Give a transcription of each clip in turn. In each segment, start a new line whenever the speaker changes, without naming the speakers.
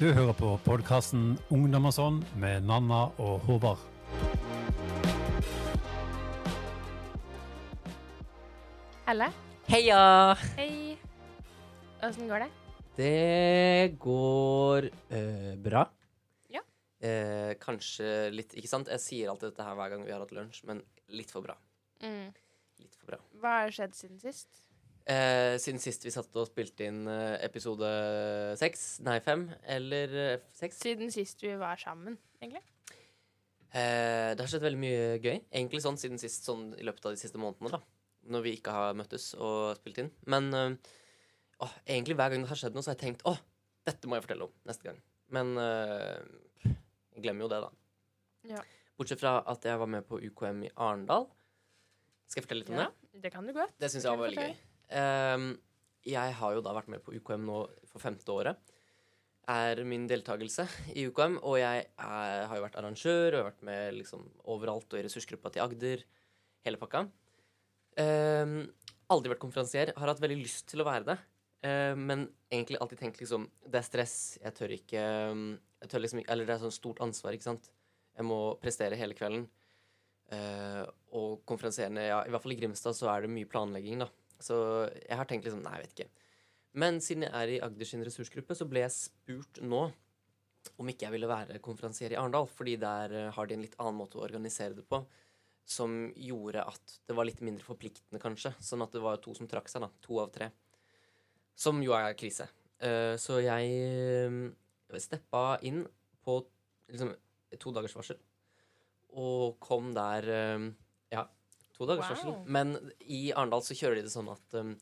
Du hører på podkasten Ungdom og sånn med Nanna og Håvard.
Helle,
Heia!
hei. Åssen går det?
Det går eh, bra.
Ja.
Eh, kanskje litt Ikke sant? Jeg sier alltid dette her hver gang vi har hatt lunsj, men litt for bra.
Mm.
Litt for bra.
Hva har skjedd siden sist?
Eh, siden sist vi satt og spilte inn eh, episode seks, nei fem, eller eh, seks
Siden sist vi var sammen, egentlig.
Eh, det har skjedd veldig mye gøy. Egentlig sånn siden sist, sånn i løpet av de siste månedene, da. Når vi ikke har møttes og spilt inn. Men eh, åh, egentlig hver gang det har skjedd noe, så har jeg tenkt åh, dette må jeg fortelle om neste gang. Men eh, jeg glemmer jo det, da.
Ja.
Bortsett fra at jeg var med på UKM i Arendal. Skal jeg fortelle litt om det?
det kan du godt.
Det syns jeg
Kan du
var veldig gøy. Ehm, jeg har jo da vært med på UKM nå for femte året. Er min deltakelse i UKM. Og jeg er, har jo vært arrangør og jeg har vært med liksom overalt og i ressursgruppa til Agder. Hele pakka. Ehm, aldri vært konferansier. Har hatt veldig lyst til å være det. Ehm, men egentlig alltid tenkt liksom Det er stress. Jeg tør ikke ehm, jeg tør liksom, ikke- Eller det er sånn stort ansvar, ikke sant. Jeg må prestere hele kvelden. Eh, og konferansierende, ja, i hvert fall i Grimstad, så er det mye planlegging, da. Så jeg har tenkt liksom Nei, jeg vet ikke. Men siden jeg er i Agder sin ressursgruppe, så ble jeg spurt nå om ikke jeg ville være konferansier i Arendal, fordi der eh, har de en litt annen måte å organisere det på. Som gjorde at det var litt mindre forpliktende, kanskje. Sånn at det var to som trakk seg, da. To av tre. Som jo er krise. Eh, så jeg eh, steppa inn på liksom to dagers varsel. Og kom der eh, Ja, to dagers varsel.
Wow.
Men i Arendal så kjører de det sånn at eh,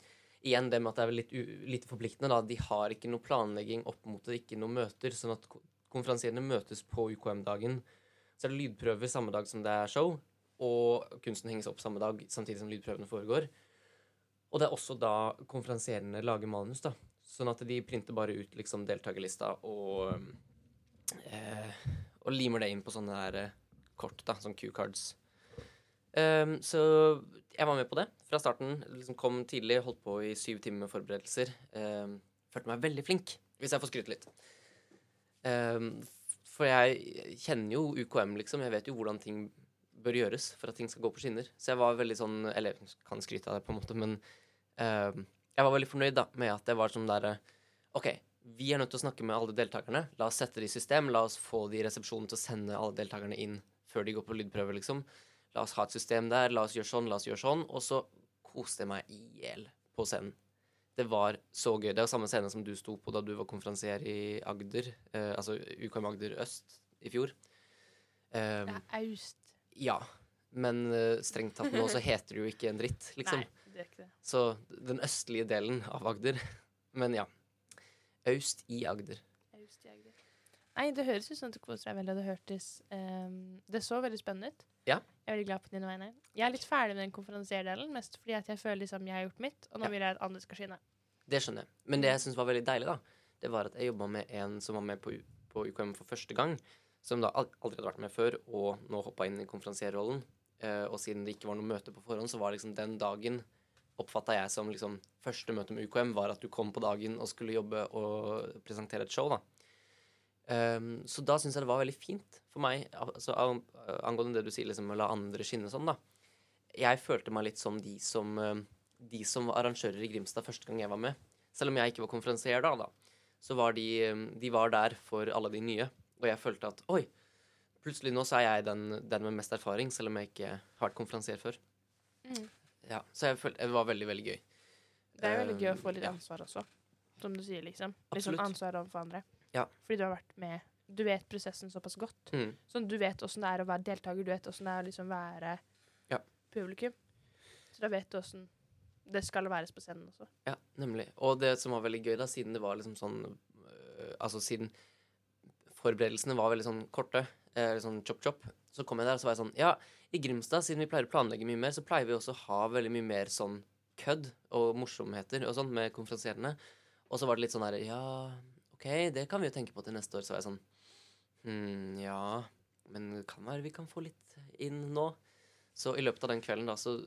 Igjen det med at det er litt u lite forpliktende. da, De har ikke noe planlegging opp mot det, ikke noe møter. Sånn at ko- konferansierene møtes på UKM-dagen. Så er det lydprøver samme dag som det er show, og kunsten henges opp samme dag samtidig som lydprøvene foregår. Og det er også da konferansierene lager manus, da. Sånn at de printer bare ut liksom deltakerlista og eh, Og limer det inn på sånne der eh, kort, da, sånn Q-cards. Ehm, så jeg var med på det fra starten. Liksom kom tidlig, holdt på i syv timer med forberedelser. Ehm, følte meg veldig flink, hvis jeg får skryte litt. Ehm, f- for jeg kjenner jo UKM, liksom. Jeg vet jo hvordan ting bør gjøres for at ting skal gå på skinner. Så jeg var veldig sånn Eller jeg kan skryte av det, på en måte, men ehm, jeg var veldig fornøyd da med at jeg var sånn derre OK, vi er nødt til å snakke med alle deltakerne. La oss sette det i system. La oss få de i resepsjonen til å sende alle deltakerne inn før de går på lydprøve, liksom. La oss ha et system der. La oss gjøre sånn, la oss gjøre sånn. Og så koste jeg meg i hjel på scenen. Det var så gøy. Det var samme scene som du sto på da du var konferansier i Agder, eh, altså UKM Agder øst i fjor.
Det
Um,
er aust.
ja. Men eh, strengt tatt nå så heter det jo ikke en dritt, liksom.
Nei, det er ikke det.
Så den østlige delen av Agder. Men ja. Øst i Agder.
Aust i Agder. Nei, det høres ut som at du koser deg veldig, og det hørtes ehm, Det så veldig spennende ut.
Ja.
Jeg er veldig glad på dine vegne. Jeg er litt ferdig med den konferansierdelen, mest fordi at jeg føler liksom jeg har gjort mitt, og nå
Ja.
vil jeg at andre skal skinne.
Det skjønner jeg. Men det jeg syns var veldig deilig, da, det var at jeg jobba med en som var med på, U- på UKM for første gang. Som da al- aldri hadde vært med før, og nå hoppa inn i konferansierrollen. Eh, og siden det ikke var noe møte på forhånd, så var liksom den dagen oppfatta jeg som liksom første møte med UKM var at du kom på dagen og skulle jobbe og presentere et show, da. Ehm, så da syns jeg det var veldig fint for meg, al- altså, an- angående det du sier, liksom å la andre skinne sånn, da. Jeg følte meg litt som de som, eh, de som var arrangører i Grimstad første gang jeg var med. Selv om jeg ikke var konferansier da, da så var de, eh, de var der for alle de nye. Og jeg følte at oi, plutselig nå så er jeg den, den med mest erfaring, selv om jeg ikke har vært konferansier før.
Mhm.
Ja, så jeg følte, det var veldig, veldig gøy.
Det er veldig gøy å få litt
ja.
ansvar også, som du sier, liksom. Litt
Absolutt.
sånn ansvar overfor andre.
Ja.
Fordi du har vært med Du vet prosessen såpass godt.
Mm.
Sånn, du vet åssen det er å være deltaker, du vet åssen det er å liksom være
Ja.
publikum. Så da vet du åssen det skal væres på scenen også.
Ja, nemlig. Og det som var veldig gøy, da, siden det var liksom sånn øh, Altså siden forberedelsene var veldig sånn korte, eller sånn chop-chop, så kom jeg der og så var jeg sånn Ja, i Grimstad, siden vi pleier å planlegge mye mer, så pleier vi også å ha veldig mye mer sånn kødd og morsomheter og sånn med konferansierende. Og så var det litt sånn her Ja, OK, det kan vi jo tenke på til neste år. Så var jeg sånn Hm, ja. Men det kan være vi kan få litt inn nå. Så i løpet av den kvelden, da, så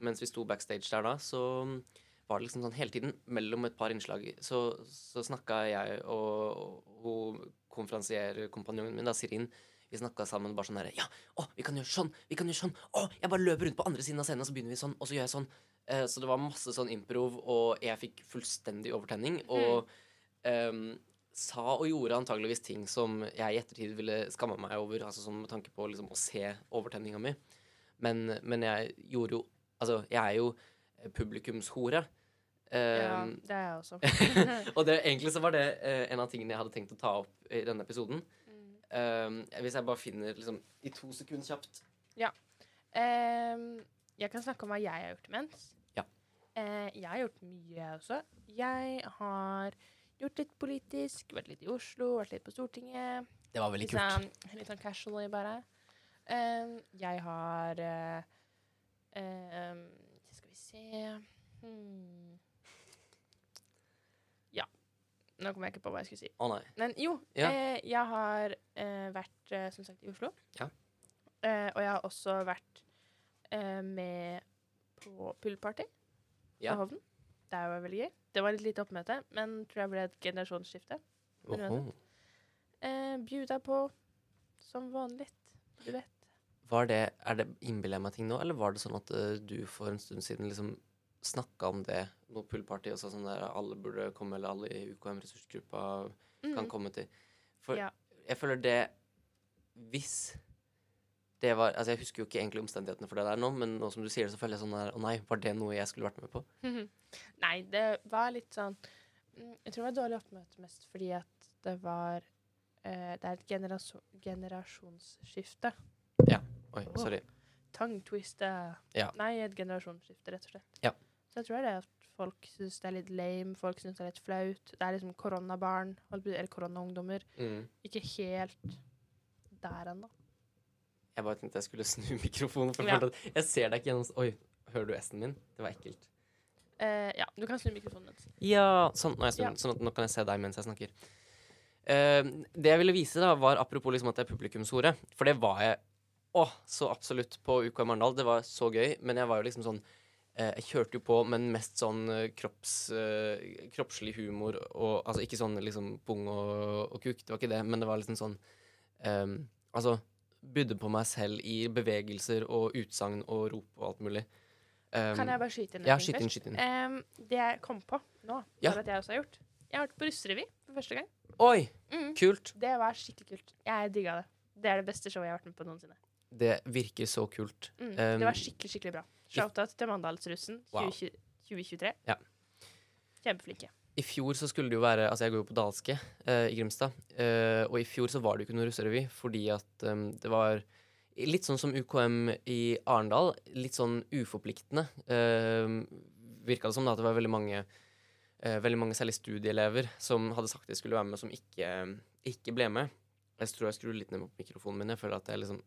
mens vi sto backstage der da, så var det liksom sånn hele tiden mellom et par innslag så, så snakka jeg og, og hun konferansierkompanjongen min, da, Sirin, vi snakka sammen bare sånn herre Ja, å, vi kan gjøre sånn, vi kan gjøre sånn. Å, jeg bare løper rundt på andre siden av scenen, og så begynner vi sånn, og så gjør jeg sånn. Eh, så det var masse sånn improv, og jeg fikk fullstendig overtenning. Og ehm, sa og gjorde antageligvis ting som jeg i ettertid ville skamma meg over, altså sånn med tanke på liksom, å se overtenninga mi. Men, men jeg gjorde jo Altså, jeg er jo publikumshore.
Ja,
Ehm,
det er jeg også.
og det, egentlig så var det eh, en av tingene jeg hadde tenkt å ta opp i denne episoden. Eh, hvis jeg bare finner liksom, i to sekunder kjapt
Ehm, jeg kan snakke om hva jeg har gjort imens.
Ja.
Eh, jeg har gjort mye, jeg også. Jeg har gjort litt politisk, vært litt i Oslo, vært litt på Stortinget.
Det var veldig
Litt sånn, litt sånn casually, bare. Ehm, jeg har eh, ehm, Skal vi se hmm. Ja. Nå kommer jeg ikke på hva jeg skulle si.
Å nei.
Men jo,
Ja.
eh, jeg har eh, vært eh, som sagt i Oslo.
Ja.
Eh, og jeg har også vært eh, med på poolparty
Ja.
på Hovden. Det var veldig gøy. Det var litt lite oppmøte, men tror jeg ble et generasjonsskifte. Men uansett. Eh, Bjuda på som vanlig. Du vet.
Var det, er det Innbiller jeg meg ting nå, eller var det sånn at eh, du for en stund siden liksom snakka om det, noe poolparty, og sa sånn der alle burde komme, eller alle i UKM-ressursgruppa kan komme til For
Mm. Ja.
jeg føler det Hvis det var Altså, jeg husker jo ikke egentlig omstendighetene for det der nå, men nå som du sier det, så føler jeg sånn der Å nei, var det noe jeg skulle vært med på?
Mm. Nei, det var litt sånn mm, Jeg tror det var dårlig oppmøte mest fordi at det var eh, Det er et generasjon, generasjonsskifte.
Oi,
Åh.
sorry.
Tangtwiste.
Ja.
Nei, et generasjonsskifte, rett og slett.
Ja.
Så jeg tror det er at folk syns det er litt lame, folk syns det er litt flaut. Det er liksom koronabarn, holdt på å si, eller koronaungdommer. Ikke helt der ennå.
Jeg bare tenkte jeg skulle snu mikrofonen. For
Ja.
jeg følte at jeg ser deg ikke gjennom Oi, hører du S-en min? Det var ekkelt.
Eh, ja, du kan snu mikrofonen litt.
Ja, sånn, nå, er jeg snu,
Ja.
sånn at nå kan jeg se deg mens jeg snakker. Eh, det jeg ville vise, da var apropos liksom at jeg er publikumshore. For det var jeg å, så absolutt på UKM Arendal. Det var så gøy. Men jeg var jo liksom sånn eh, Jeg kjørte jo på, men mest sånn eh, kropps, eh, kroppslig humor og Altså ikke sånn liksom pung og, og kuk, det var ikke det, men det var liksom sånn eh, Altså bydde på meg selv i bevegelser og utsagn og rop og alt mulig. Eh,
Kan jeg bare skyte inn
ja,
en ting
skyt
først?
inn, skyt inn.
Em, det jeg kom på nå,
Ja.
for at jeg også har gjort Jeg har vært på russerevy for første gang.
Oi,
Mm.
kult!
Det var skikkelig kult. Jeg digga det. Det er det beste showet jeg har vært med på noensinne.
Det virker så kult.
Mm.
Um,
det var skikkelig skikkelig bra. Shout-out til Mandalsrussen
Wow.
2020 2023.
Ja.
Kjempeflinke.
I fjor så skulle det jo være Altså, jeg går jo på Dalske eh, i Grimstad. eh, og i fjor så var det jo ikke noe russerevy fordi at eh, det var litt sånn som UKM i Arendal. Litt sånn uforpliktende. Uh, Virka det som da at det var veldig mange eh, Veldig mange særlig studieelever som hadde sagt de skulle være med, som ikke, ikke ble med. Jeg tror jeg skrur litt ned på mikrofonen min. Jeg føler at jeg liksom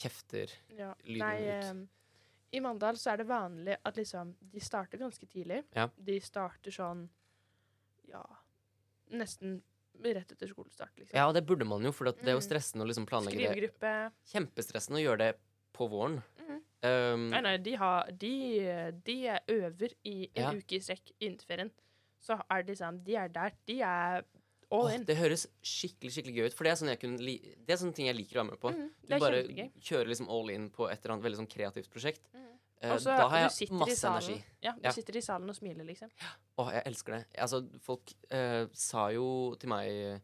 kjefter
Ja.
Lyden
Nei, eh,
ut.
em, i Mandal så er det vanlig at liksom De starter ganske tidlig.
Ja.
De starter sånn Ja, nesten rett etter skolestart, liksom.
Ja, og det burde man jo, for at det er jo
Mm.
stressende å liksom planlegge det.
Skrivegruppe.
Kjempestressende å gjøre det på våren.
Mhm.
Um,
Nei, nei, de, har, de, de øver i en
Ja.
uke i strekk inntil ferien. Så er de sånn De er der. De er all
åh,
in.
det høres skikkelig skikkelig gøy ut, for det er sånn jeg kunne li Det er sånne ting jeg liker å være med på.
Mm,
Du
det er
bare
kjempegøy.
kjører liksom all in på et eller annet veldig sånn kreativt prosjekt.
Mhm.
Eh,
Og så
da har
du
jeg
sitter i
masse
salen-
energi.
Ja, du
Ja.
sitter i salen og smiler, liksom.
Åh, jeg elsker det. Altså, folk eh, sa jo til meg eh,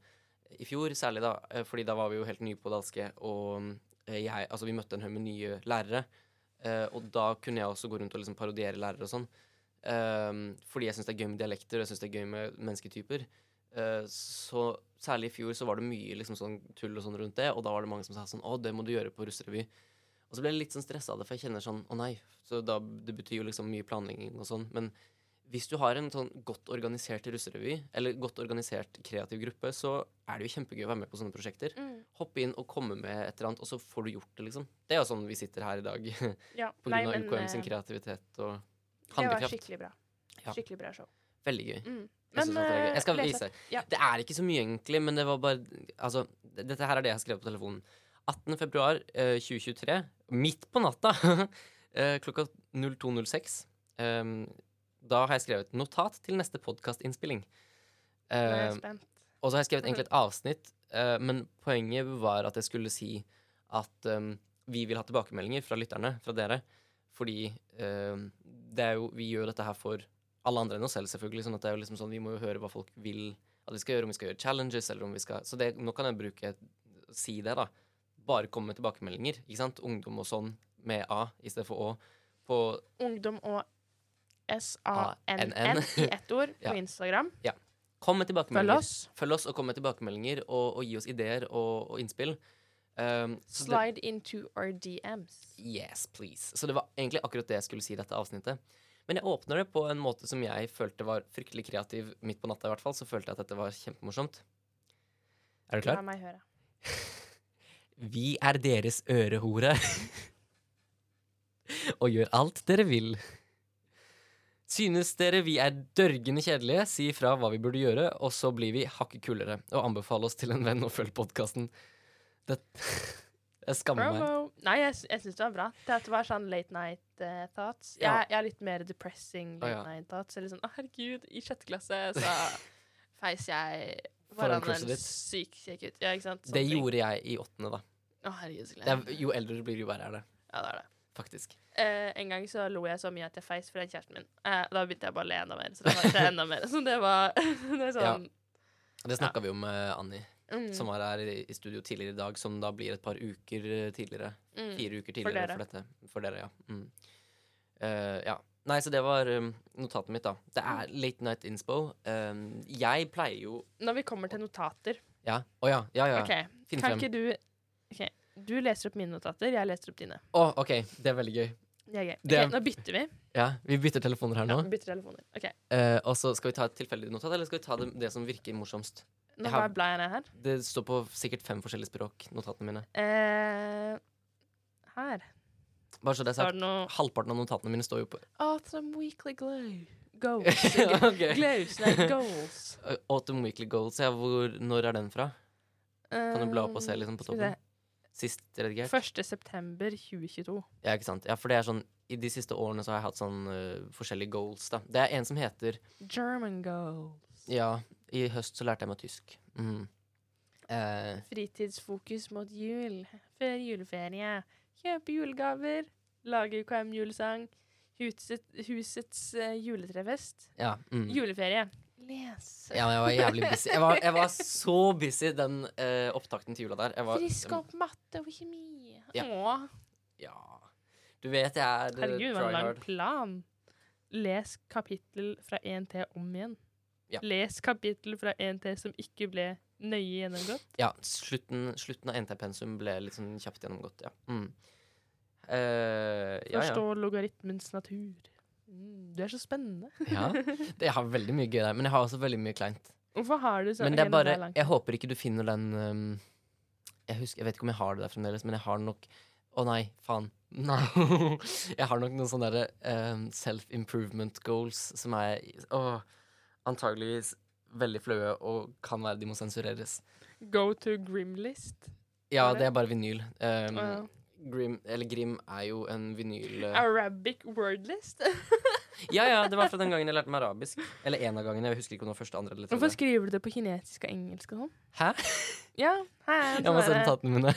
i fjor, særlig da, eh, fordi da var vi jo helt nye på Dalske, og eh, jeg, altså, vi møtte en haug med nye lærere, eh, og da kunne jeg også gå rundt og liksom parodiere lærere og sånn. Ehm, fordi jeg syns det er gøy med dialekter, og jeg syns det er gøy med mennesketyper. Eh, så særlig i fjor så var det mye liksom sånn tull og sånn rundt det, og da var det mange som sa sånn Å, det må du gjøre på russerevy. Og så ble jeg litt sånn stressa av det, for jeg kjenner sånn Å nei. Så da, det betyr jo liksom mye planlegging og sånn. Men hvis du har en sånn godt organisert russerevy, eller godt organisert kreativ gruppe, så er det jo kjempegøy å være med på sånne prosjekter.
Mm,
Hoppe inn og komme med et eller annet, og så får du gjort det, liksom. Det er jo sånn vi sitter her i dag,
Ja.
på
nei,
grunn av
men,
UKM sin
eh,
kreativitet og
Det var
handlekraft.
skikkelig bra.
Ja.
Skikkelig bra show.
Veldig gøy.
Mm.
Jeg, synes at det er gøy.
eh,
jeg skal
Leif,
vise deg.
ja.
Det er ikke så mye, egentlig, men det var bare Altså, d- dette her er det jeg har skrevet på telefonen. 18. februar eh, 2023, midt på natta, eh, klokka 02.06, eh, Da har jeg skrevet 'notat til neste podkastinnspilling'.
Nå er
Uh,
jeg spent.
og så har jeg skrevet egentlig
Mhm.
et avsnitt, eh, men poenget var at jeg skulle si at eh, vi vil ha tilbakemeldinger fra lytterne, fra dere. Fordi eh, det er jo, vi gjør dette her for alle andre enn oss selv, selvfølgelig. sånn at det er jo liksom sånn, Vi må jo høre hva folk vil at vi skal gjøre, om vi skal gjøre challenges, eller om vi skal Så det, nå kan jeg bruke Si det, da. Bare komme med tilbakemeldinger. ikke sant? Ungdom og sånn med A i stedet for Å. På
Ungdom og SANN i ett ord på
Ja.
Instagram.
Kom med
Følg
tilbakemeldinger.
oss.
Følg oss og kom med tilbakemeldinger og, og gi oss ideer og, og innspill. Um, så det-
Slide into our DMs.
Yes, please. Så det var egentlig akkurat det jeg skulle si i dette avsnittet. Men jeg åpner det på en måte som jeg følte var fryktelig kreativ midt på natta, i hvert fall. Så følte jeg at dette var kjempemorsomt. Er du
La
klar?
meg høre.
Vi er deres ørehore og gjør alt dere vil. Synes dere vi er dørgende kjedelige, si fra hva vi burde gjøre, og så blir vi hakket kulere. Og anbefale oss til en venn og følg podkasten. Det Jeg skammer meg.
Promo. Nei, jeg, sy- jeg syns det var bra. Dette var sånn late night eh, thoughts. Jeg,
Ja.
jeg er litt mer depressing late
ja.
night thoughts. Eller sånn, å herregud, i sjette klasse så feis jeg
Foran
foran
kurset
en
ditt.
syk kjekk ut. Ja, ikke sant? Sånne
Det
ting.
gjorde jeg i åttende, da.
Å, herregud, så
Det
glad.
er, jo eldre du blir, jo verre er det.
Ja, det er det.
Faktisk.
Eh, en gang så lo jeg så mye at jeg feis foran kjæresten min. Eh, da begynte jeg bare å le enda mer. Så det var, det er enda mer. Så det var det er sånn
Det snakka vi om med Annie,
mm,
som var her i i studio tidligere i dag, som da blir et par uker eh, tidligere.
mm.
Fire uker tidligere
dere.
for, dette. For dere, ja. Mm. Eh, ja. Nei, så det var um, notatet mitt, da. Det er
Mm.
Late Night Inspo. Um, jeg pleier jo
Når vi kommer til notater
Ja. Å ja. Ja, ja.
OK,
Finn
kan
frem.
ikke du ok, Du leser opp mine notater, jeg leser opp dine.
Å, OK. Det er veldig gøy.
Det er gøy. Ok,
Det er-
Nå bytter vi.
Ja, Vi bytter telefoner her
Ja,
nå.
vi bytter telefoner. Ok,
Eh, og så skal vi ta et tilfeldig notat, eller skal vi ta det, det som virker morsomst?
Nå
Jeg har-
bare blar jeg ned her.
Det står på sikkert fem forskjellige språk, notatene mine.
Eh, her.
Bare så det er
Så er
sagt.
det noe
Halvparten av notatene mine står jo på
Autumn Weekly Glow. Goals. Ikke-
Ok.
Glows, nei, goals.
Uh, Autumn Weekly Goals, ja. Hvor, når er den fra? Kan du bla opp og se sånn?
Eh,
liksom på
skal vi se.
toppen? Sist redigert?
1. september 2022.
Ja, ikke sant. Ja, for det er sånn I de siste årene så har jeg hatt sånn uh, forskjellige goals, da. Det er en som heter
German goals.
Ja, i høst så lærte jeg meg tysk. Mhm. Eh,
Fritidsfokus mot jul. Før juleferie. Kjøpe julegaver. Lage UKM-julesang. Huset, husets eh, juletrefest.
ja. mhm.
Juleferie. Les.
Ja, jeg var jævlig busy. Jeg var, jeg var så busy den eh, opptakten til jula der. Jeg var,
Frisk opp matte og kjemi.
Ja.
Åh.
Ja. Du vet jeg er eh,
Herregud, hva en
try
lang
hard.
plan. Les kapittel fra 1 til om igjen.
Ja.
Les kapittel fra 1 til som ikke ble nøye gjennomgått.
Ja, slutten, slutten av NT-pensum ble litt sånn kjapt gjennomgått, ja. Mm. Eh, ja, ja.
Forstå logaritmens natur. Mm, du er så spennende.
ja. Det, jeg har veldig mye gøy der, men jeg har også veldig mye kleint.
Hvorfor har du sånn?
Men det
Ok,
er
nå ble
bare
jeg lang.
Jeg håper ikke du finner den um, jeg, husker, jeg vet ikke om jeg har det der fremdeles, men jeg har nok Å nei, faen. No. jeg har nok noen sånne derre um, self-improvement goals som er å, antageligvis veldig flaue og kan være de må sensureres.
Go to grimlist. Hva
Ja,
er det?
det er bare vinyl. Um,
Å,
Grim, eller Grim er jo en vinyl eh,
Arabic wordlist.
Sånn, Ja, ja, det var fra den gangen jeg lærte meg arabisk. Eller en av gangene. Jeg husker ikke om det var første, andre eller
Hvorfor
tredje.
skriver du det på kinesisk og engelsk og sånn?
Hæ?
Ja, her er
Jeg må se notatene mine.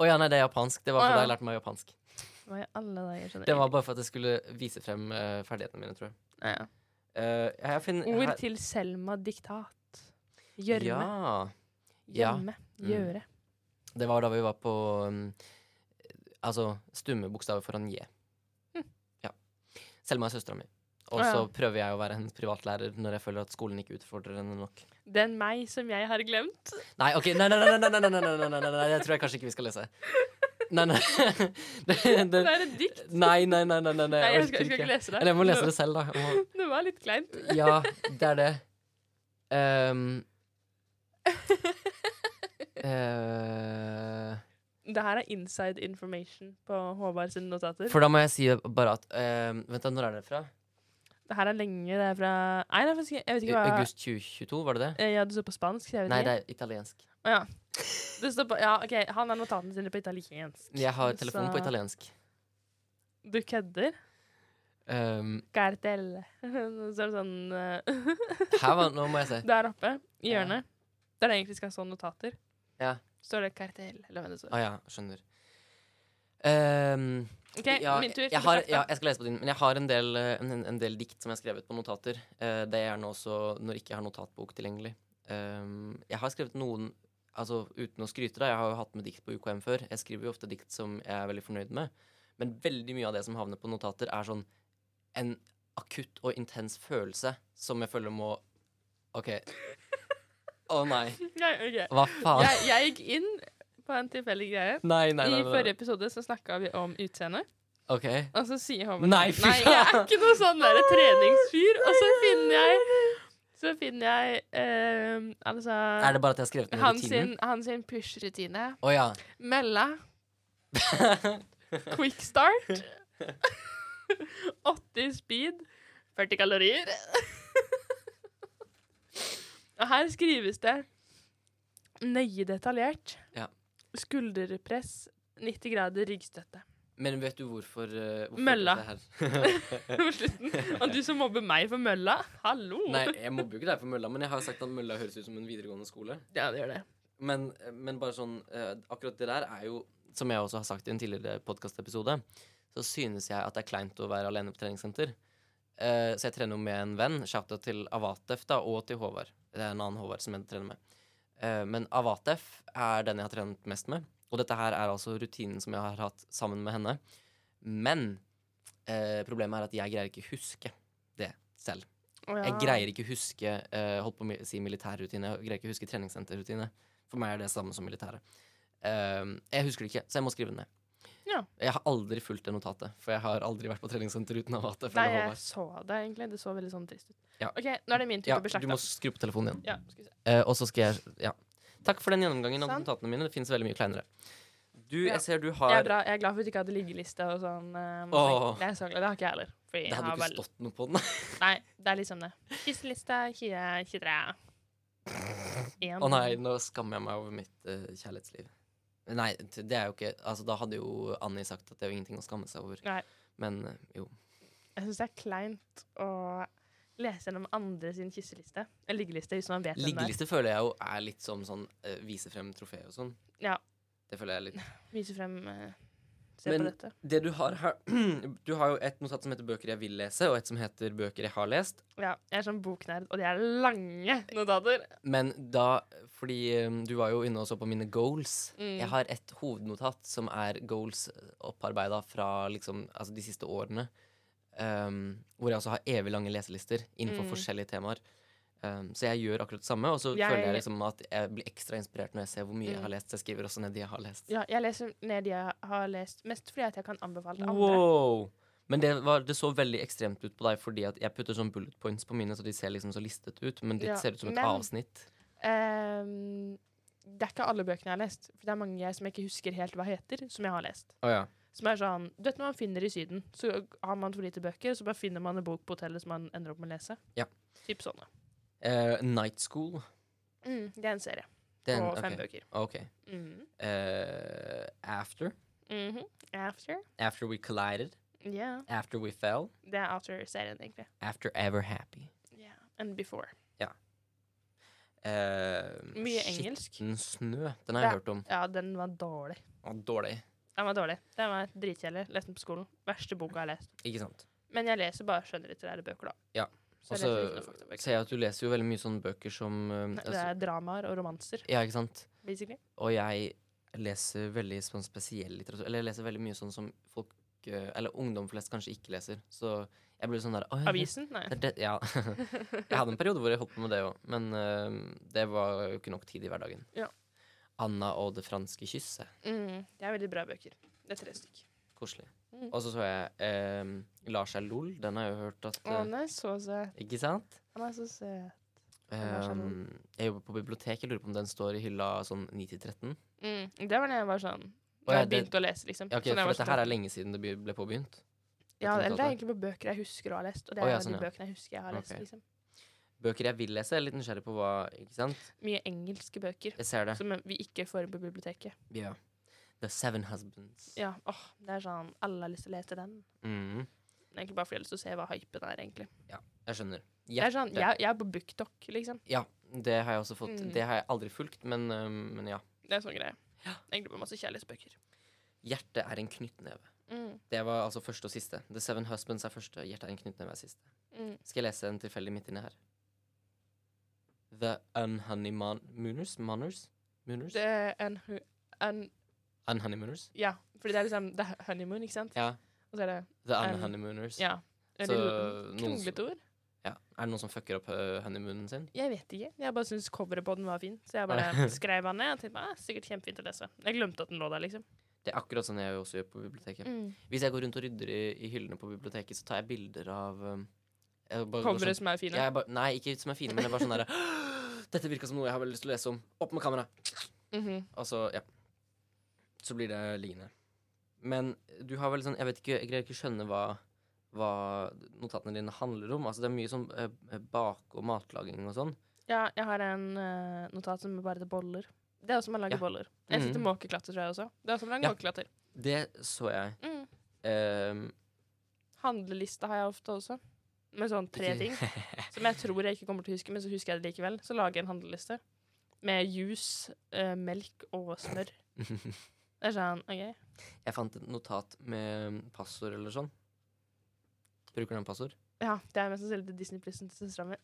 Å ja, nei, det er japansk. Det var
Å,
fordi
ja.
jeg lærte meg japansk.
Hva i alle dager skjønner
Det var bare for at jeg skulle vise frem eh, ferdighetene mine, tror jeg.
Ja, ja.
Eh, jeg finner,
Ord
her-
til Selma diktat. Gjørme.
Ja. ja.
Gjemme.
Mm.
Gjøre.
Det var da vi var på um, Altså stumme bokstaver foran J. Ja. Selma er søstera mi. Og
Hm. Å, ja.
så prøver jeg å være hennes privatlærer når jeg føler at skolen ikke utfordrer henne nok.
Den meg som jeg har glemt.
Nei, ok, nei, nei, nei, nei, nei, nei, nei, nei, nei, nei, nei, nei det tror jeg kanskje ikke vi skal lese. Nei, nei. Det,
Det
det,
er et dikt.
nei, nei, nei, nei, nei, nei.
Nei,
Eh, Jeg
jeg skal, jeg skal
orker ikke.
ikke lese det.
Eller jeg må lese det selv, da. Jeg må,
Det, det var litt kleint.
ja, det er det. Ehm. Eh,
Det her er inside information på Håvard sine notater.
for da må jeg si bare at ehm, Vent, da, når er det fra?
Det her er lenge. Det er fra Nei, det er faktisk, jeg vet
I,
ikke hva
august 2022, var det det?
Eh, Ja, det står på spansk. så Jeg vet
Nei,
ikke.
det er italiensk.
Å, ja. Det står på, ja, ok, Han har notatene sine på italiensk.
Jeg har telefonen på
Så-
italiensk.
Du kødder?
Ehm,
Gardell. Så er det sånn eh,
her var Nå må jeg se.
Der oppe, i
Ja.
hjørnet, der det egentlig skal stå notater,
Ja.
står det Gardell. Eller hva det står.
Å Ah, ja, skjønner. Ehm,
OK,
ja,
min tur.
Jeg, har, ja, jeg skal lese på din, men jeg har en del, eh, en, en del dikt som jeg har skrevet på notater. Eh, det er gjerne også når jeg ikke har notatbok tilgjengelig. Ehm, jeg har skrevet noen altså uten å skryte, da, jeg har jo hatt med dikt på UKM før. Jeg skriver jo ofte dikt som jeg er veldig fornøyd med. Men veldig mye av det som havner på notater, er sånn en akutt og intens følelse som jeg føler må OK. Å nei.
Nei, ok.
Hva faen?
jeg, jeg gikk inn på en tilfeldig greie.
Nei, nei, nei.
I
nei,
forrige episode så snakka vi om utseende,
nei. OK.
og så sier Håvard
Nei, fy
Nei, jeg er ikke noe sånn der treningsfyr. Og så finner jeg Så finner jeg eh, Altså
Er det bare at jeg har skrevet ned
han
rutinen?
sin, han sin push-rutine.
Å ja.
Mella. Quick start. 80 speed. 40 kalorier. Og her skrives det nøye detaljert.
Ja.
Skulderpress, 90 grader ryggstøtte.
Men vet du hvorfor, eh, hvorfor
Mølla.
dette her-
På slutten. Og du som mobber meg for mølla? Hallo!
Nei, jeg mobber jo ikke deg for mølla, men jeg har sagt at mølla høres ut som en videregående skole.
Ja, det gjør det.
Men, men bare sånn eh, Akkurat det der er jo, som jeg også har sagt i en tidligere podkastepisode, så synes jeg at det er kleint å være alene på treningssenter. Eh, så jeg trener jo med en venn. Shout-out til Avatef da, og til Håvard. Det er en annen Håvard som jeg trener med. Eh, men Avatef er den jeg har trent mest med. Og dette her er altså rutinen som jeg har hatt sammen med henne. Men eh, problemet er at jeg greier ikke huske det selv.
Å, ja.
Jeg greier ikke huske eh, Holdt på å mi- si militærrutine Jeg greier ikke huske treningssenterrutine For meg er det samme som militæret Ehm, Jeg husker det ikke, så jeg må skrive det ned
Ja.
Jeg har aldri fulgt det notatet For jeg har aldri vært på treningssenter uten å ha hatt det fra
Nei, jeg
Håvard.
så det egentlig. Det så veldig sånn trist ut.
Ja.
OK, nå er det min tur
ja,
til å bli
Du
slakta.
må skru på telefonen igjen
Ja, skal vi se.
Eh, Og så skal jeg ja. Takk for den gjennomgangen av
Sant.
notatene mine Det finnes veldig mye kleinere Du,
Ja.
jeg ser du
Jeg
har
er, bra, jeg er glad for at du ikke hadde liggeliste og sånn. eh, masse
Åh.
ting. Det er så glad, det har ikke jeg heller. Fordi
Det
jeg
hadde
har
jo ikke
vel-
stått noe på den Å
Nei, det er liksom det. Kisseliste 2023. Én.
nei, nå skammer jeg meg over mitt eh, kjærlighetsliv Nei, t- det er jo ikke Altså, da hadde jo Annie sagt at det er jo ingenting å skamme seg over
Nei.
Men eh, jo
Jeg syns det er kleint å lese gjennom andre sin kisseliste. Eller liggeliste, hvis man vet hvem det er.
Liggeliste føler jeg jo er litt som sånn eh, vise frem trofé og sånn.
Ja.
Det føler jeg litt.
Vise frem eh, Se
Men-
på dette.
Det du har her Du har jo et notat som heter 'Bøker jeg vil lese', og et som heter 'Bøker jeg har lest'.
Ja, jeg er sånn boknerd, og de er lange notater.
Men da Fordi eh, du var jo inne og så på mine goals.
Mm.
Jeg har et hovednotat som er goals opparbeida fra liksom, altså de siste årene. ehm, hvor jeg også har evig lange leselister innenfor
Mm.
forskjellige temaer. Ehm, så jeg gjør akkurat det samme, og så
Jeg-
føler jeg liksom at jeg blir ekstra inspirert når jeg ser hvor mye jeg
Mm.
har lest. Så jeg skriver også ned de jeg har lest.
Ja, jeg leser ned de jeg har lest, mest fordi at jeg kan anbefale andre.
Wow! Men det, var, det så veldig ekstremt ut på deg, fordi at jeg putter sånn bullet points på mine, så de ser liksom så listet ut, men ditt
Ja,
ser ut som et
men-
avsnitt.
Ehm, det er ikke alle bøkene jeg har lest. For det er mange jeg som jeg ikke husker helt hva heter, som jeg har lest.
Å ja.
Som er sånn, du vet Når man finner i Syden, så har man for lite bøker, så bare finner man en bok på hotellet som man ender opp med å lese.
Ja.
Typ sånne.
Eh, Night School.
Mm, det er en serie
Det er en-
på fem
ok,
bøker.
ok.
Mm.
Eh, after.
Mhm. After.
After we collided.
Yeah.
After we fell.
Det er After-serien, egentlig.
After ever happy.
Yeah. And Before.
Eh,
Mye engelsk.
Skitten snø. Den har jeg
Ja.
hørt om.
Ja, den var dårlig.
Å, dårlig.
Den var dårlig. Den var dritkjedelig. Leste den på skolen. Verste boka jeg har lest.
Ikke sant.
Men jeg leser bare skjønnlitterære bøker, da.
Ja.
Så jeg
Også-
leser ikke noen faktabøker.
Ser jeg at du leser jo veldig mye sånne bøker som eh,
Nei, Det
altså,
er dramaer og romanser,
Ja, ikke sant.
basically.
Og jeg leser veldig sånn spesiell litteratur. Eller jeg leser veldig mye sånn som folk eh, Eller ungdom flest kanskje ikke leser. Så jeg blir sånn der «Å, ja,
Avisen? Nei.
Det, det, ja. jeg hadde en periode hvor jeg holdt på med det òg, men eh, det var jo ikke nok tid i hverdagen.
Ja.
Anna og det franske kysset.
Mm, det er veldig bra bøker. Det er tre stykk.
Koselig.
Mm.
Og så så jeg eh, Lars er lol. Den har jeg jo hørt at
Å,
eh,
han er så søt.
Ikke sant?
Han er så søt. Lars er lol.
Um, jeg jobber på bibliotek. Jeg lurer på om den står i hylla sånn 9 til 13.
Mm, det var da jeg var sånn
Å,
Da
ja,
jeg
det-
begynte å lese, liksom.
Ja, ok,
Så da jeg
for
var
dette
sånn-
her er lenge siden det be- ble påbegynt.
Ja,
dette
eller det er
notatet.
egentlig på bøker jeg husker å ha lest. Og det
Å,
er
ja,
de
sånn, ja.
bøkene jeg husker jeg har lest.
Ok.
liksom.
Bøker jeg vil lese. Jeg er litt nysgjerrig på hva Ikke sant?
Mye engelske bøker
Jeg ser det.
som vi ikke får på biblioteket.
Ja. The Seven Husbands.
Ja, åh, Det er sånn Alle har lyst til å lese den.
Mm.
den egentlig bare fordi jeg har lyst til å se hva hypen er, egentlig.
Jeg skjønner.
Jeg er, sånn,
Hjerte.
jeg, jeg er på BookTok, liksom.
Ja, det har jeg også fått.
Mm.
Det har jeg aldri fulgt, men, øhm, men ja.
Det er sånn greie. Egentlig på masse kjærlighetsbøker.
Hjertet er en knyttneve.
Mm.
Det var altså første og siste. The Seven Husbands er første, hjertet er en knyttneve er siste.
Mm.
Skal jeg lese en tilfeldig midt inne her? The Unhoney Mon- Mooners? Moners? Mooners?
Det er en, hu- en
Unhoneymooners?
Ja, fordi det er liksom det er honeymoon, ikke sant?
Ja.
Og så er det
The
Un-
Unhoneymooners.
Um, Ja. Er
Så eh,
det
noen som-
Kronglete ord?
Ja. Er det noen som fucker opp øh, honeymoonen sin?
Jeg vet ikke. Jeg bare syntes coveret på den var fin, så jeg bare skrev den ned. Og tenkte, ah, sikkert kjempefint å lese. Jeg glemte at den lå der, liksom.
Det er akkurat sånn jeg også gjør på biblioteket.
Mm.
Hvis jeg går rundt og rydder i, i hyllene på biblioteket, så tar jeg bilder av øhm, jeg bare går
Coveret
sånn-
som er fine.
Ja, jeg bare- Nei, ikke som er fine, men jeg er bare sånn derre Dette virka som noe jeg har veldig lyst til å lese om. Opp med kameraet!
Mhm.
Og så, Altså, ja. Så blir det liggende. Men du har vel sånn Jeg vet ikke, jeg greier ikke skjønne hva, hva notatene dine handler om. Altså, det er mye sånn eh, bak- og matlaging og sånn.
ja, jeg har en eh, notat som er bare til boller. Det er også man lager
Ja.
boller. Jeg sitter
Mhm.
måkeklatter, tror jeg også. Det er også man lager
Ja.
måkeklatter.
Det så jeg.
Mm.
Ehm,
Handleliste har jeg ofte også. Med sånn tre
Ikke-
ting som jeg tror jeg ikke kommer til å huske, men så husker jeg det likevel. Så lager jeg en handleliste med juice, eh, melk og smør. Det er sånn OK.
jeg fant et notat med passord eller sånn. Bruker den passord?
Ja, det er mest sannsynlig til Disney Plussen til søstera mi.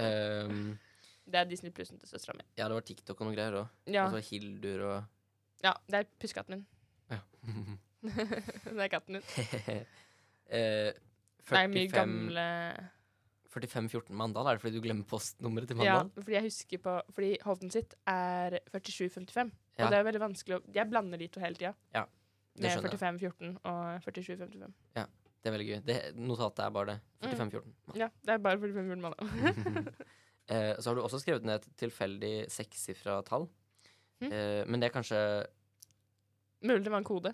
Ehm,
det er Disney Plussen til søstera mi.
ja, det var TikTok og noen greier òg.
Ja,
Og så var Hildur og
ja, det er pussekatten min.
Ja.
det er katten min.
Eh,
Det er mye
45
gamle
4514 Mandal? Er det fordi du glemmer postnummeret til
Ja,
Mandal?
fordi jeg husker på Fordi Hovden sitt er 4755.
Ja.
Og det er veldig vanskelig å Jeg blander de to hele tida.
Ja, det
Med
skjønner jeg.
4514 og 4755.
Det er veldig gøy. Det, notatet er bare det. 4514.
Ja, det er bare 4514 mandag.
Eh, så har du også skrevet ned et tilfeldig sekssifra tall.
Mhm.
Eh, men det er kanskje
Mulig det var en kode.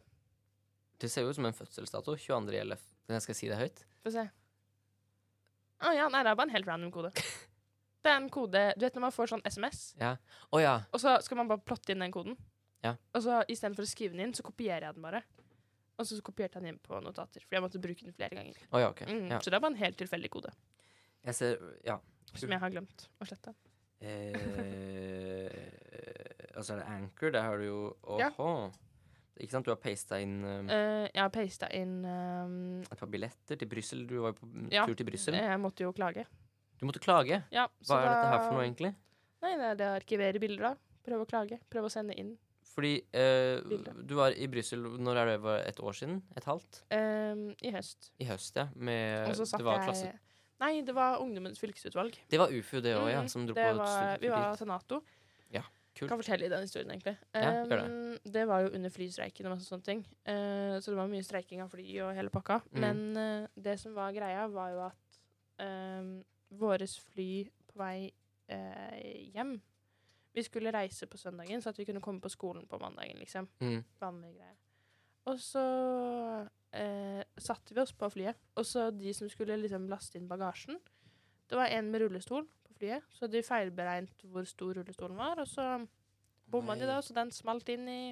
Det ser jo ut som en fødselsdato. 22.11. Men jeg skal si det høyt.
Få se. Å ja, nei, det er bare en helt random kode. Det er en kode Du vet når man får sånn SMS?
Å ja.
Og så skal man bare plotte inn den koden.
Ja.
Og så istedenfor å skrive den inn, så kopierer jeg den bare. Og så kopierte jeg den inn på notater, fordi jeg måtte bruke den flere ganger.
Å ja, ok.
Mm,
Ja.
Så det er bare en helt tilfeldig kode,
Jeg ser Ja.
som jeg har glemt å slette.
Eh, og så er det Anchor. Der har du jo Åhå.
Ja.
Ikke sant? Du har pasta inn eh,
Eh, jeg har pasta inn ehm,
et par billetter til Brussel. Du var jo på mm,
Ja. Eh.
tur til Brussel.
Jeg måtte jo klage.
Du måtte klage.
Ja,
Hva er dette her for noe, egentlig?
Nei, det er det å arkivere bilder, da. Prøve å klage. Prøve å sende inn.
Fordi eh,
Bildet.
du var i Brussel når er det var det et år siden? Et halvt?
Ehm, I høst.
I høst, ja. Med,
Og så satt
Eh, det var klasse
jeg Nei, det var Ungdommens fylkesutvalg.
Det var UFU, det òg, ja.
Mm,
Som dro
det
på
var, vi var til Nato.
Ja, kult.
Kan fortelle i den historien, egentlig.
Ja, gjør det.
Um, det var jo under flystreiken og masse sånne ting. Eh, så det var mye streiking av fly og hele pakka.
Mm.
Men eh, det som var greia, var jo at um, våres fly på vei eh, hjem Vi skulle reise på søndagen, så at vi kunne komme på skolen på mandagen, liksom.
Mm.
Vanlig greie. Og så eh, satte vi oss på flyet, og så de som skulle liksom laste inn bagasjen Det var en med rullestol på flyet, så de feilberegnet hvor stor rullestolen var, og så bomma de
Nei.
da, så den smalt inn i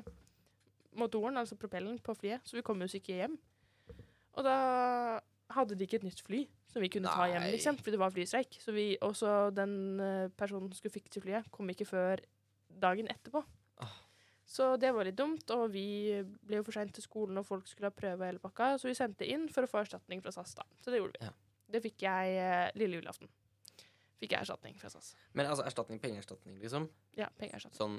motoren, altså propellen, på flyet. Så vi kom oss ikke hjem. Og da hadde de ikke et nytt fly som vi kunne ta hjem,
Nei.
liksom, fordi det var flystreik. Så vi, også den eh, personen som skulle fikse flyet, kom ikke før dagen etterpå.
Ah.
Så det var litt dumt, og vi ble jo for seint til skolen, og folk skulle ha prøve og hele pakka, så vi sendte inn for å få erstatning fra SAS, da. Så det gjorde vi.
Ja.
Det fikk jeg eh, lille julaften. Fikk jeg erstatning fra SAS.
Men altså erstatning, pengeerstatning, liksom.
Ja, pengeerstatning.
Sånn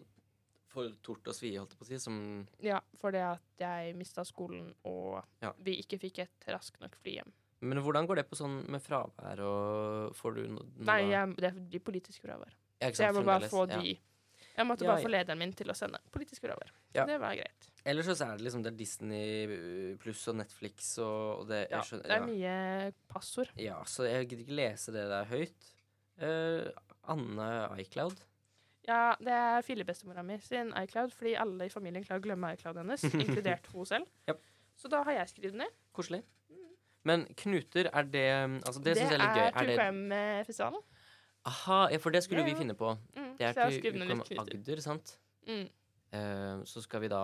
for tort og svie, holdt jeg på å si. Som
Ja, fordi at jeg mista skolen, og
Ja.
vi ikke fikk et raskt nok fly hjem.
Men hvordan går det på sånn med fravær og Får du no noe
Nei, jeg, det blir politisk fravær.
Ja, ikke
Så jeg
sant,
må bare
fremdeles,
få
ja.
de Jeg måtte
Ja,
bare
ja.
få lederen min til å sende politisk fravær.
Ja.
Det var greit.
Ellers så er det liksom det er Disney øh, pluss og Netflix og, og det
Ja,
jeg skjønner,
det er mye passord.
ja. ja, så jeg gidder ikke lese det der høyt. Eh, Anne iCloud.
Ja, det er fillebestemora mi sin iCloud, fordi alle i familien klarer å glemme iClouden hennes, inkludert hun selv.
Japp.
Så da har jeg skrevet den ned.
Koselig. Men knuter, er det Altså, det, syns jeg er litt gøy.
er
det-
True Crime-festivalen.
Aha, ja, for det skulle
Ja, ja.
vi finne på.
Mm,
Det er
så jeg har
til
skrevet ned
UKM
litt knuter.
Agder, sant?
Mm.
Eh, så skal vi da,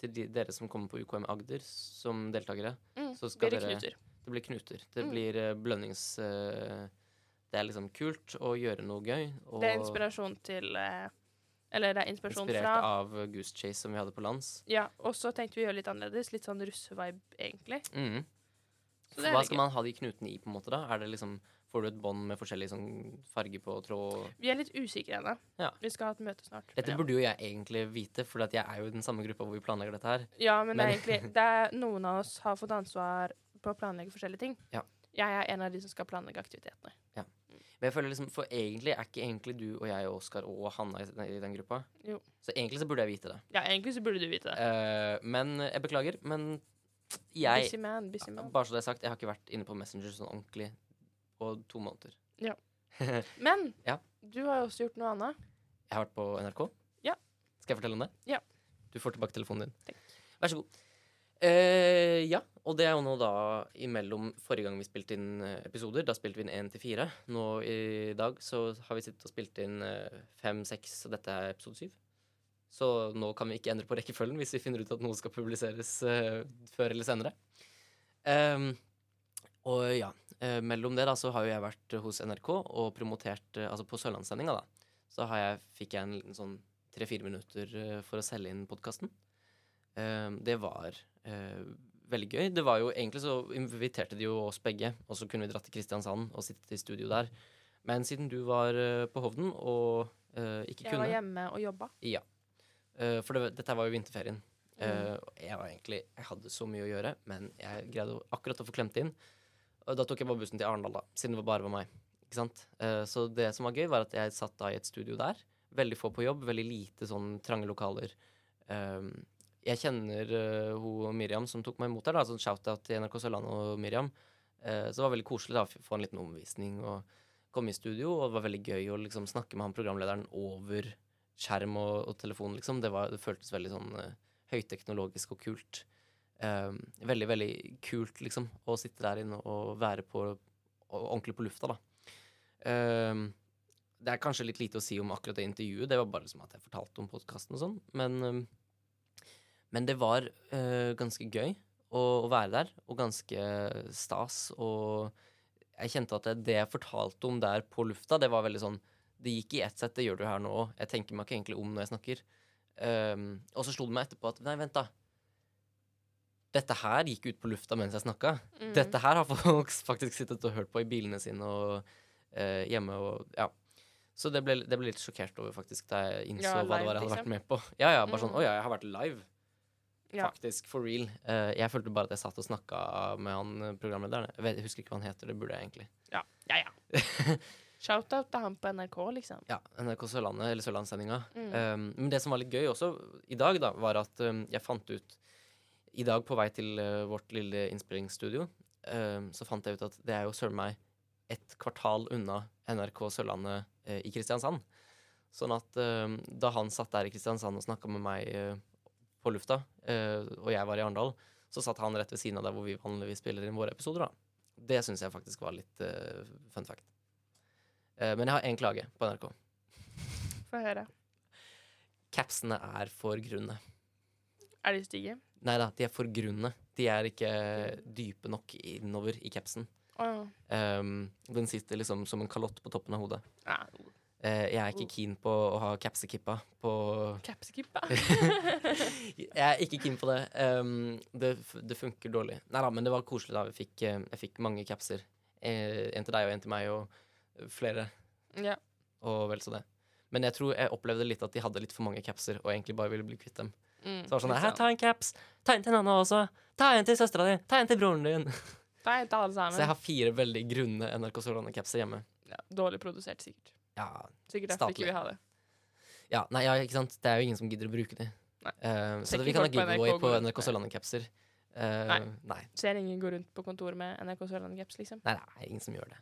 til de, dere som kommer på UKM Agder som deltakere,
Mm.
Så skal
Blir det
dere-
knuter.
Det blir knuter. Det
Mm.
blir eh, blønnings... eh, det er liksom kult å gjøre noe gøy. Og
Det er inspirasjon til eh, Eller det er inspirasjon
inspirert
fra
av Goose Chase som vi hadde på lands.
Ja, og så tenkte vi å gjøre litt annerledes. Litt sånn russevibe, egentlig.
Mm.
Så det er
Hva
litt
skal man ha de knutene i, på en måte, da? Er det liksom, får du et bånd med forskjellig sånn, farge på tråd?
Vi er litt usikre ennå.
Ja.
Vi skal ha et møte snart.
Dette
Ja.
burde jo jeg egentlig vite, for at jeg er jo i den samme gruppa hvor vi planlegger dette her.
Ja, men, det er
Men-
egentlig det er, Noen av oss har fått ansvar på å planlegge forskjellige ting.
Ja.
Jeg er en av de som skal planlegge aktivitetene.
Men jeg føler liksom, for egentlig er ikke egentlig du og jeg og Oskar og Hanna i, i den gruppa.
Jo.
Så egentlig så burde jeg vite det.
Ja, egentlig så burde du vite det.
Eh, men jeg beklager, men jeg
busy man, busy man.
Bare så det er sagt, jeg har ikke vært inne på Messenger sånn ordentlig på to måneder.
Ja.
jeg
Men
Ja.
du har jo også gjort noe annet.
har vært på NRK.
Ja.
Skal jeg fortelle om det?
Ja.
Du får tilbake telefonen din. Vær så god. Eh, ja, og det er jo nå da imellom forrige gang vi spilte inn eh, episoder. Da spilte vi inn én til fire. Nå i dag så har vi sittet og spilt inn eh, fem, seks, og dette er episode syv. Så nå kan vi ikke endre på rekkefølgen hvis vi finner ut at noe skal publiseres eh, før eller senere. Ehm, og ja, eh, mellom det da så har jo jeg vært eh, hos NRK og promotert eh, Altså på Sørlandssendinga, da. Så har jeg, fikk jeg en liten sånn tre-fire minutter eh, for å selge inn podkasten. det var eh, veldig gøy. Det var jo egentlig så inviterte de jo oss begge, og så kunne vi dratt til Kristiansand og sittet i studio der. Men siden du var eh, på Hovden og eh, ikke
Jeg
kunne
var hjemme og jobba.
Eh, for det, var- dette var jo vinterferien. Eh, og jeg var egentlig Jeg hadde så mye å gjøre, men jeg greide å- akkurat å få klemt inn. Og da tok jeg bare bussen til Arendal, da, siden det bare var meg. Ikke sant? Eh, så det som var gøy, var at jeg satt da i et studio der. Veldig få på jobb, veldig lite sånn trange lokaler. Ehm, jeg kjenner eh, hun Miriam som tok meg imot her, da, sånn shout-out til NRK Sørlandet og Miriam. Eh, så det var veldig koselig da, å f- få en liten omvisning og komme i studio, og det var veldig gøy å liksom snakke med han programlederen over skjerm og, og telefon, liksom. Det, var, det føltes veldig sånn eh, høyteknologisk og kult. Ehm, veldig, veldig kult, liksom, å sitte der inne og være på og, ordentlig på lufta, da. Ehm, det er kanskje litt lite å si om akkurat det intervjuet, det var bare liksom at jeg fortalte om podkasten og sånn, men ehm, Men det var eh, ganske gøy å, å være der, og ganske stas, og jeg kjente at det- det jeg fortalte om der på lufta, det var veldig sånn det gikk i ett sett, det gjør du her nå òg. Jeg tenker meg ikke egentlig om når jeg snakker. Ehm, og så slo det meg etterpå at nei, vent, da. Dette her gikk ut på lufta mens jeg snakka.
Mm.
Dette her har folk faktisk sittet og hørt på i bilene sine og eh, hjemme og ja. Så det ble, det ble litt sjokkert over, faktisk, da jeg innså
Ja, live,
hva det var jeg hadde
liksom.
vært med på. Ja, ja, bare sånn,
Mm.
Å ja, jeg har vært live.
Ja.
Faktisk, for real. Eh, jeg følte bare at jeg satt og snakka med han eh, programlederen. Jeg, vet, jeg husker ikke hva han heter, det burde jeg egentlig.
Ja, ja, ja. Shout-out til han på NRK, liksom.
Ja, NRK Sørlandet, eller Sørlandssendinga.
Mm.
Um, men det som var litt gøy også i dag, da, var at um, jeg fant ut I dag på vei til uh, vårt lille innspillingsstudio, um, så fant jeg ut at det er jo søren meg et kvartal unna NRK Sørlandet eh, i Kristiansand. Sånn at um, da han satt der i Kristiansand og snakka med meg eh, på lufta, eh, og jeg var i Arendal, så satt han rett ved siden av der hvor vi vanligvis spiller inn våre episoder, da. Det syns jeg faktisk var litt eh, fun fact. Eh, men jeg har én klage på NRK.
Få høre.
Capsene er for grunne.
Er de stygge?
Nei da, de er for grunne. De er ikke dype nok innover i capsen.
Åh.
Ehm, den sitter liksom som en kalott på toppen av hodet.
Ah,
Eh, jeg er ikke keen på å ha capsekippa på
Capskippa.
Jeg er ikke keen på det. Ehm, det, f- det funker dårlig. Nei da, men det var koselig da. Vi fikk, eh, jeg fikk mange capser. Eh, en til deg og en til meg og flere.
ja.
Og vel så det. Men jeg tror jeg opplevde litt at de hadde litt for mange capser og egentlig bare ville bli kvitt dem.
Mm,
Så var det sånn
litt
Her, ta en caps. Ta en til en annen også. Ta en til søstera di. Ta en til broren din.
Ta en til alle
Så jeg
sammen.
har fire veldig grunne NRK Sørlandet-capser hjemme.
Ja, dårlig produsert, sikkert.
Ja.
Sikkert derfor ikke
Statlig.
vi har det.
ja. Nei, ja, ikke sant. Det er jo ingen som gidder å bruke de.
Nei.
Eh, så
Tenker
det, vi kan
folk på NRK
ha giveaway på
går-
NRK Sørlandet-capser. Eh,
Nei.
nei.
Ser ingen gå rundt på kontoret med NRK Sørlandet-caps, liksom.
Nei, det er ingen som gjør det.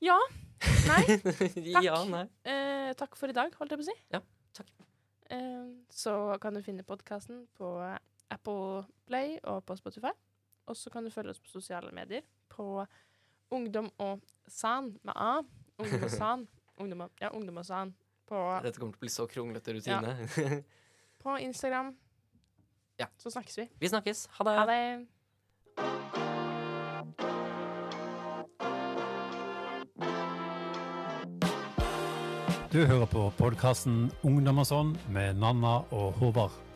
Ja. Nei.
Takk. Ja, nei.
Eh, takk for i dag, holdt jeg på å si.
Ja, takk.
Eh, så kan du finne podkasten på Apple Play og på Spotify. Og så kan du følge oss på sosiale medier på Ungdom og San med A. Ungdom og San. Ungdom og, ja, Ungdom og San på,
Dette kommer til å bli så kronglete rutine.
på Instagram.
Ja.
Så snakkes vi.
Vi snakkes. Ha det.
Ha det.
Du hører på podkasten Ungdom og sånn med Nanna og Håvard.